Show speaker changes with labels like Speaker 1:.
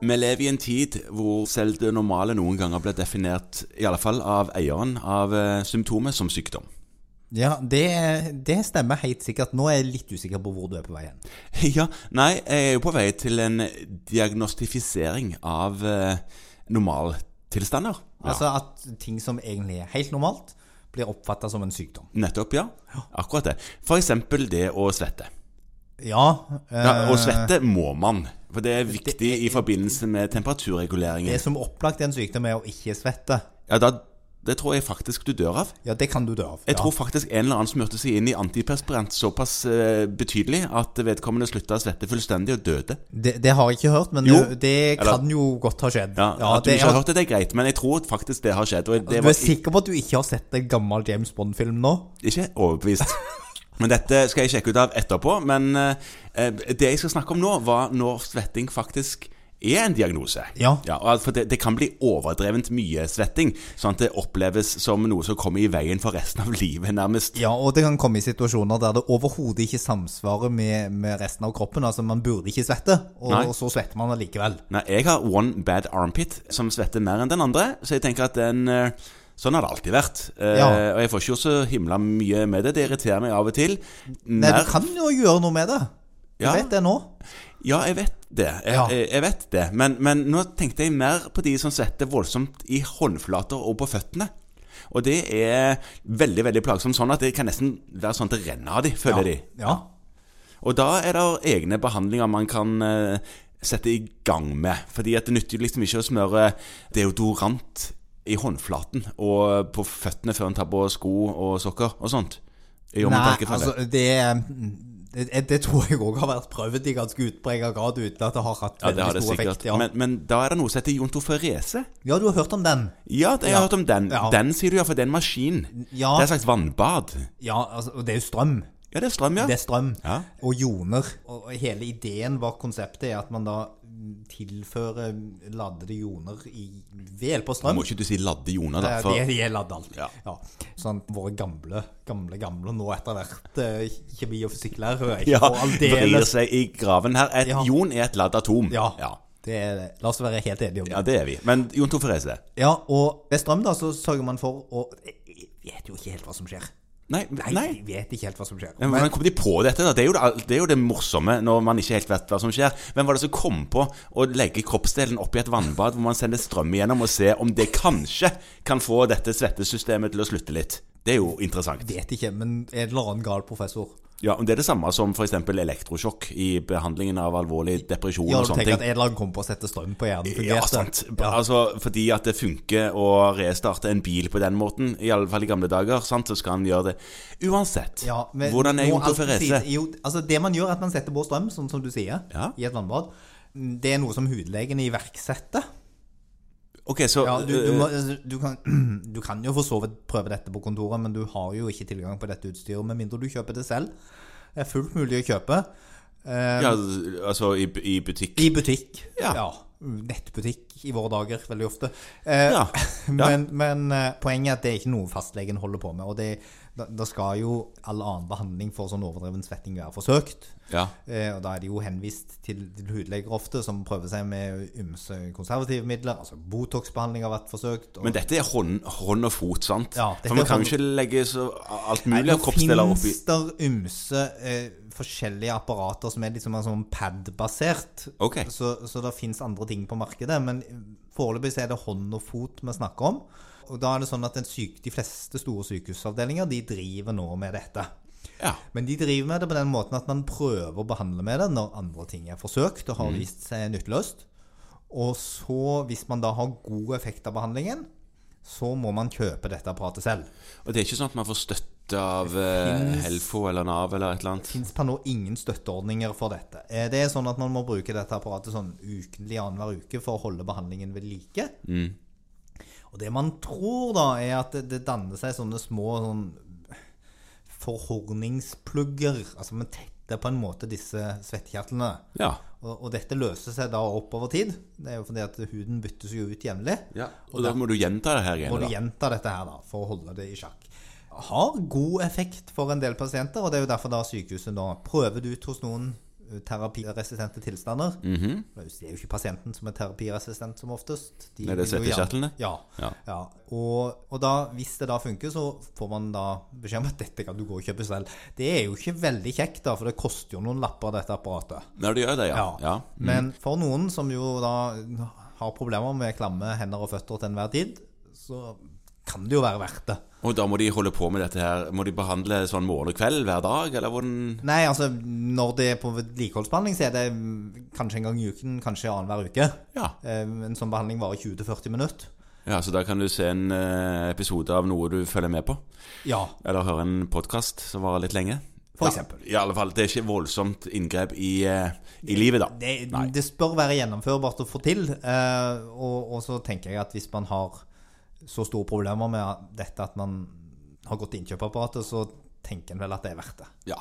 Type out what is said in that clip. Speaker 1: Vi lever i en tid hvor selv det normale noen ganger blir definert, i alle fall av eieren, av eh, symptomet som sykdom.
Speaker 2: Ja, det, det stemmer helt sikkert. Nå er jeg litt usikker på hvor du er på vei hen.
Speaker 1: Ja, nei, jeg er jo på vei til en diagnostifisering av eh, normaltilstander. Ja.
Speaker 2: Altså at ting som egentlig er helt normalt, blir oppfatta som en sykdom.
Speaker 1: Nettopp, ja. Akkurat det. For eksempel det å svette.
Speaker 2: Ja, eh,
Speaker 1: Ja, og svette må man, for det er viktig i forbindelse med temperaturreguleringen.
Speaker 2: det som opplagt er en sykdom, er å ikke svette.
Speaker 1: Ja, da, det tror jeg faktisk du dør av.
Speaker 2: Ja, det kan du dø av.
Speaker 1: Jeg
Speaker 2: ja.
Speaker 1: tror faktisk en eller annen smurte seg inn i antiperspirant såpass eh, betydelig at vedkommende slutta å svette fullstendig og døde.
Speaker 2: det, det har jeg ikke hørt, men
Speaker 1: Jo.
Speaker 2: det kan jo godt ha skjedd.
Speaker 1: Ja,
Speaker 2: Ja,
Speaker 1: At du
Speaker 2: det-
Speaker 1: ikke har hørt det, det er greit, men jeg tror faktisk det har skjedd. Og det
Speaker 2: Du er
Speaker 1: var
Speaker 2: sikker på at du ikke har sett en gammel James Bond-film nå?
Speaker 1: ikke overbevist. Men dette skal jeg sjekke ut av etterpå. Men eh, eh, det jeg skal snakke om nå, var når svetting faktisk er en diagnose.
Speaker 2: Ja.
Speaker 1: og at- for det, det kan bli overdrevent mye svetting, sånn at det oppleves som noe som kommer i veien for resten av livet, nærmest.
Speaker 2: Ja, og det kan komme i situasjoner der det overhodet ikke samsvarer med, med resten av kroppen. Altså, man burde ikke svette, og,
Speaker 1: Nei.
Speaker 2: og så svetter man allikevel.
Speaker 1: Nei, jeg har one bad armpit, som svetter mer enn den andre, så jeg tenker at den eh, Sånn har det alltid vært. Eh,
Speaker 2: Ja.
Speaker 1: Og jeg får ikke gjort så himla mye med det. Det irriterer meg av og til.
Speaker 2: Nei,
Speaker 1: Mer-
Speaker 2: du kan jo gjøre noe med det. Du
Speaker 1: Ja.
Speaker 2: vet det nå.
Speaker 1: Ja, jeg vet det. Jeg,
Speaker 2: Ja.
Speaker 1: jeg, jeg vet det. Men, men nå tenkte jeg mer på de som svetter voldsomt i håndflater og på føttene. Og det er veldig veldig plagsomt, sånn at det kan nesten være sånn at det renner av de,
Speaker 2: Ja.
Speaker 1: føler
Speaker 2: ja.
Speaker 1: de. Og da er det egne behandlinger man kan eh, sette i gang med. Fordi at det nytter jo liksom ikke å smøre deodorant i håndflaten og på føttene før en tar på sko og sokker og sånt. Gjør man
Speaker 2: Nei,
Speaker 1: ikke fra det?
Speaker 2: altså, det, det, det tror jeg òg har vært prøvd i ganske utprega grad uten at det har hatt
Speaker 1: Ja, det
Speaker 2: veldig
Speaker 1: har det
Speaker 2: stor
Speaker 1: sikkert.
Speaker 2: effekt. Ja.
Speaker 1: Men, men da er det noe som heter jontoferese.
Speaker 2: ja, du har hørt om den.
Speaker 1: Ja, det, jeg har hørt om den.
Speaker 2: Ja.
Speaker 1: Den sier du ja, for det er en maskin.
Speaker 2: Ja.
Speaker 1: Det er et slags vannbad.
Speaker 2: Ja, altså, og det er jo strøm.
Speaker 1: Ja, det er strøm, ja.
Speaker 2: Det er strøm
Speaker 1: Ja.
Speaker 2: og joner. Og hele ideen bak konseptet er at man da mm, tilfører ladede joner i, ved hjelp av strøm.
Speaker 1: Må ikke du si ladde joner, da.
Speaker 2: Ja,
Speaker 1: For,
Speaker 2: de, de er ladd alt.
Speaker 1: Ja.
Speaker 2: Ja. Sånn våre gamle, gamle, gamle nå etter hvert eh, kjemi- og fysikklærere er ikke
Speaker 1: ja,
Speaker 2: på
Speaker 1: vrir
Speaker 2: aldeles
Speaker 1: seg i graven her. Et
Speaker 2: Ja.
Speaker 1: jon er et ladd atom.
Speaker 2: ja,
Speaker 1: ja.
Speaker 2: Det er, la oss være helt enige om
Speaker 1: Ja,
Speaker 2: det.
Speaker 1: det er vi. Men Jon Toferese
Speaker 2: Ja, og ved strøm da, så sørger man for å Jeg vet jo ikke helt hva som skjer.
Speaker 1: Nei, nei.
Speaker 2: Nei, jeg vet ikke helt hva som skjer.
Speaker 1: Men Hvordan kom de på dette? da? Det er, jo det, det er jo det morsomme når man ikke helt vet hva som skjer. Hvem var det som kom på å legge kroppsdelen opp i et vannbad hvor man sender strøm igjennom og ser om det kanskje kan få dette svettesystemet til å slutte litt? Det er jo interessant.
Speaker 2: Jeg vet ikke, men en eller annen gal professor.
Speaker 1: Ja, men Det er det samme som f.eks. elektrosjokk i behandlingen av alvorlig depresjon
Speaker 2: Ja,
Speaker 1: og
Speaker 2: du
Speaker 1: sånne
Speaker 2: tenker at
Speaker 1: ting.
Speaker 2: en eller annen kom på å sette strøm på hjernen.
Speaker 1: Ja,
Speaker 2: Fungerte.
Speaker 1: sant. Altså, fordi at det funker å restarte en bil på den måten, i alle fall i gamle dager, sant? så skal en gjøre det. Uansett.
Speaker 2: Ja, men
Speaker 1: hvordan er
Speaker 2: nå alt
Speaker 1: jontoferese?
Speaker 2: sier- Jo, altså det man gjør er at man setter på strøm, sånn som du sier,
Speaker 1: Ja.
Speaker 2: i et vannbad. Det er noe som hudlegene iverksetter.
Speaker 1: Ok, så
Speaker 2: Ja, du, du, må, altså, du, kan, du kan jo for så vidt prøve dette på kontoret, men du har jo ikke tilgang på dette utstyret, med mindre du kjøper det selv. Det er fullt mulig å kjøpe.
Speaker 1: eh, ja, altså i, i butikk
Speaker 2: I butikk.
Speaker 1: Ja.
Speaker 2: Nettbutikk i våre dager, veldig ofte. Eh,
Speaker 1: Ja, ja.
Speaker 2: Men, men eh, poenget er at det er ikke noe fastlegen holder på med. Og det, da, da skal jo all annen behandling for sånn overdreven svetting være forsøkt.
Speaker 1: Ja.
Speaker 2: Eh, og da er de jo henvist til, til hudleger ofte, som prøver seg med ymse konservative midler. Altså Botox-behandling har vært forsøkt. Og,
Speaker 1: Men dette er hånd, hånd og fot, sant?
Speaker 2: Ja, dette
Speaker 1: For man
Speaker 2: er
Speaker 1: kan
Speaker 2: hånd-
Speaker 1: jo ikke legge så alt
Speaker 2: Nei,
Speaker 1: mulig
Speaker 2: nå
Speaker 1: av kroppsdeler oppi
Speaker 2: finnes der ymse eh, forskjellige apparater som er liksom en sånn pad-basert.
Speaker 1: Ok.
Speaker 2: Så, så det fins andre ting på markedet, men foreløpig så er det hånd og fot vi snakker om. Og da er det sånn at en syk, De fleste store sykehusavdelinger de driver nå med dette.
Speaker 1: Ja.
Speaker 2: Men de driver med det på den måten at man prøver å behandle med det når andre ting er forsøkt og har vist seg nytteløst. Og så, hvis man da har god effekt av behandlingen, så må man kjøpe dette apparatet selv.
Speaker 1: Og det er ikke sånn at man får støtte av eh,
Speaker 2: finnes-
Speaker 1: Helfo eller Nav eller et eller annet?
Speaker 2: finnes per nå ingen støtteordninger for dette. Eh, Det er sånn at man må bruke dette apparatet sånn ukentlig annenhver uke for å holde behandlingen ved like. Og det man tror da, er at det, det danner seg sånne små sånn forhorningsplugger. Altså man tetter på en måte disse svettekjertlene.
Speaker 1: Ja.
Speaker 2: Og, og dette løser seg da opp over tid. Det er jo fordi at huden byttes jo ut jevnlig.
Speaker 1: Ja, og da må du gjenta det her
Speaker 2: Må
Speaker 1: igjen.
Speaker 2: du
Speaker 1: Da.
Speaker 2: gjenta dette her da, for å holde det i sjakk. Har god effekt for en del pasienter, og det er jo derfor da sykehuset nå prøver det ut hos noen eh, terapiresistente tilstander.
Speaker 1: Mhm.
Speaker 2: Det er jo ikke pasienten som er terapiresistent som oftest. De
Speaker 1: Nei, det er
Speaker 2: vil jo gjerne-
Speaker 1: settekjertlene?
Speaker 2: Ja.
Speaker 1: Ja.
Speaker 2: ja. Og, og da, hvis det da funker, så får man da beskjed om at dette kan du gå og kjøpe selv. Det er jo ikke veldig kjekt, da, for det koster jo noen lapper, dette apparatet.
Speaker 1: Nei, det gjør det, ja. ja.
Speaker 2: Men for noen som jo da har problemer med klamme hender og føtter til enhver tid, så kan det jo være verdt det.
Speaker 1: Og da må de holde på med dette her Må de behandle sånn morgen og kveld hver dag, eller hvordan
Speaker 2: Nei, altså, når det er på vedlikeholdsbehandling, så er det mm, kanskje en gang i uken, kanskje annenhver uke.
Speaker 1: Ja.
Speaker 2: Eh, En sånn behandling varer 20-40 minutter.
Speaker 1: ja, så da kan du se en eh, episode av noe du følger med på.
Speaker 2: Ja.
Speaker 1: Eller høre en podkast som varer litt lenge. Ja,
Speaker 2: For eksempel.
Speaker 1: I alle fall, det er ikke voldsomt inngrep i, eh, i livet, da.
Speaker 2: Det, det bør være gjennomførbart å få til. eh, og, og så tenker jeg at hvis man har så store problemer med dette at man har gått til innkjøpapparatet, så tenker en vel at det er verdt det.
Speaker 1: Ja.